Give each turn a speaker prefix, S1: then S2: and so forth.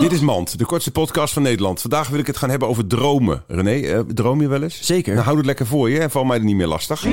S1: Dit is Mand, de kortste podcast van Nederland. Vandaag wil ik het gaan hebben over dromen. René, eh, droom je wel eens?
S2: Zeker.
S1: Nou, houd het lekker voor je en val mij er niet meer lastig.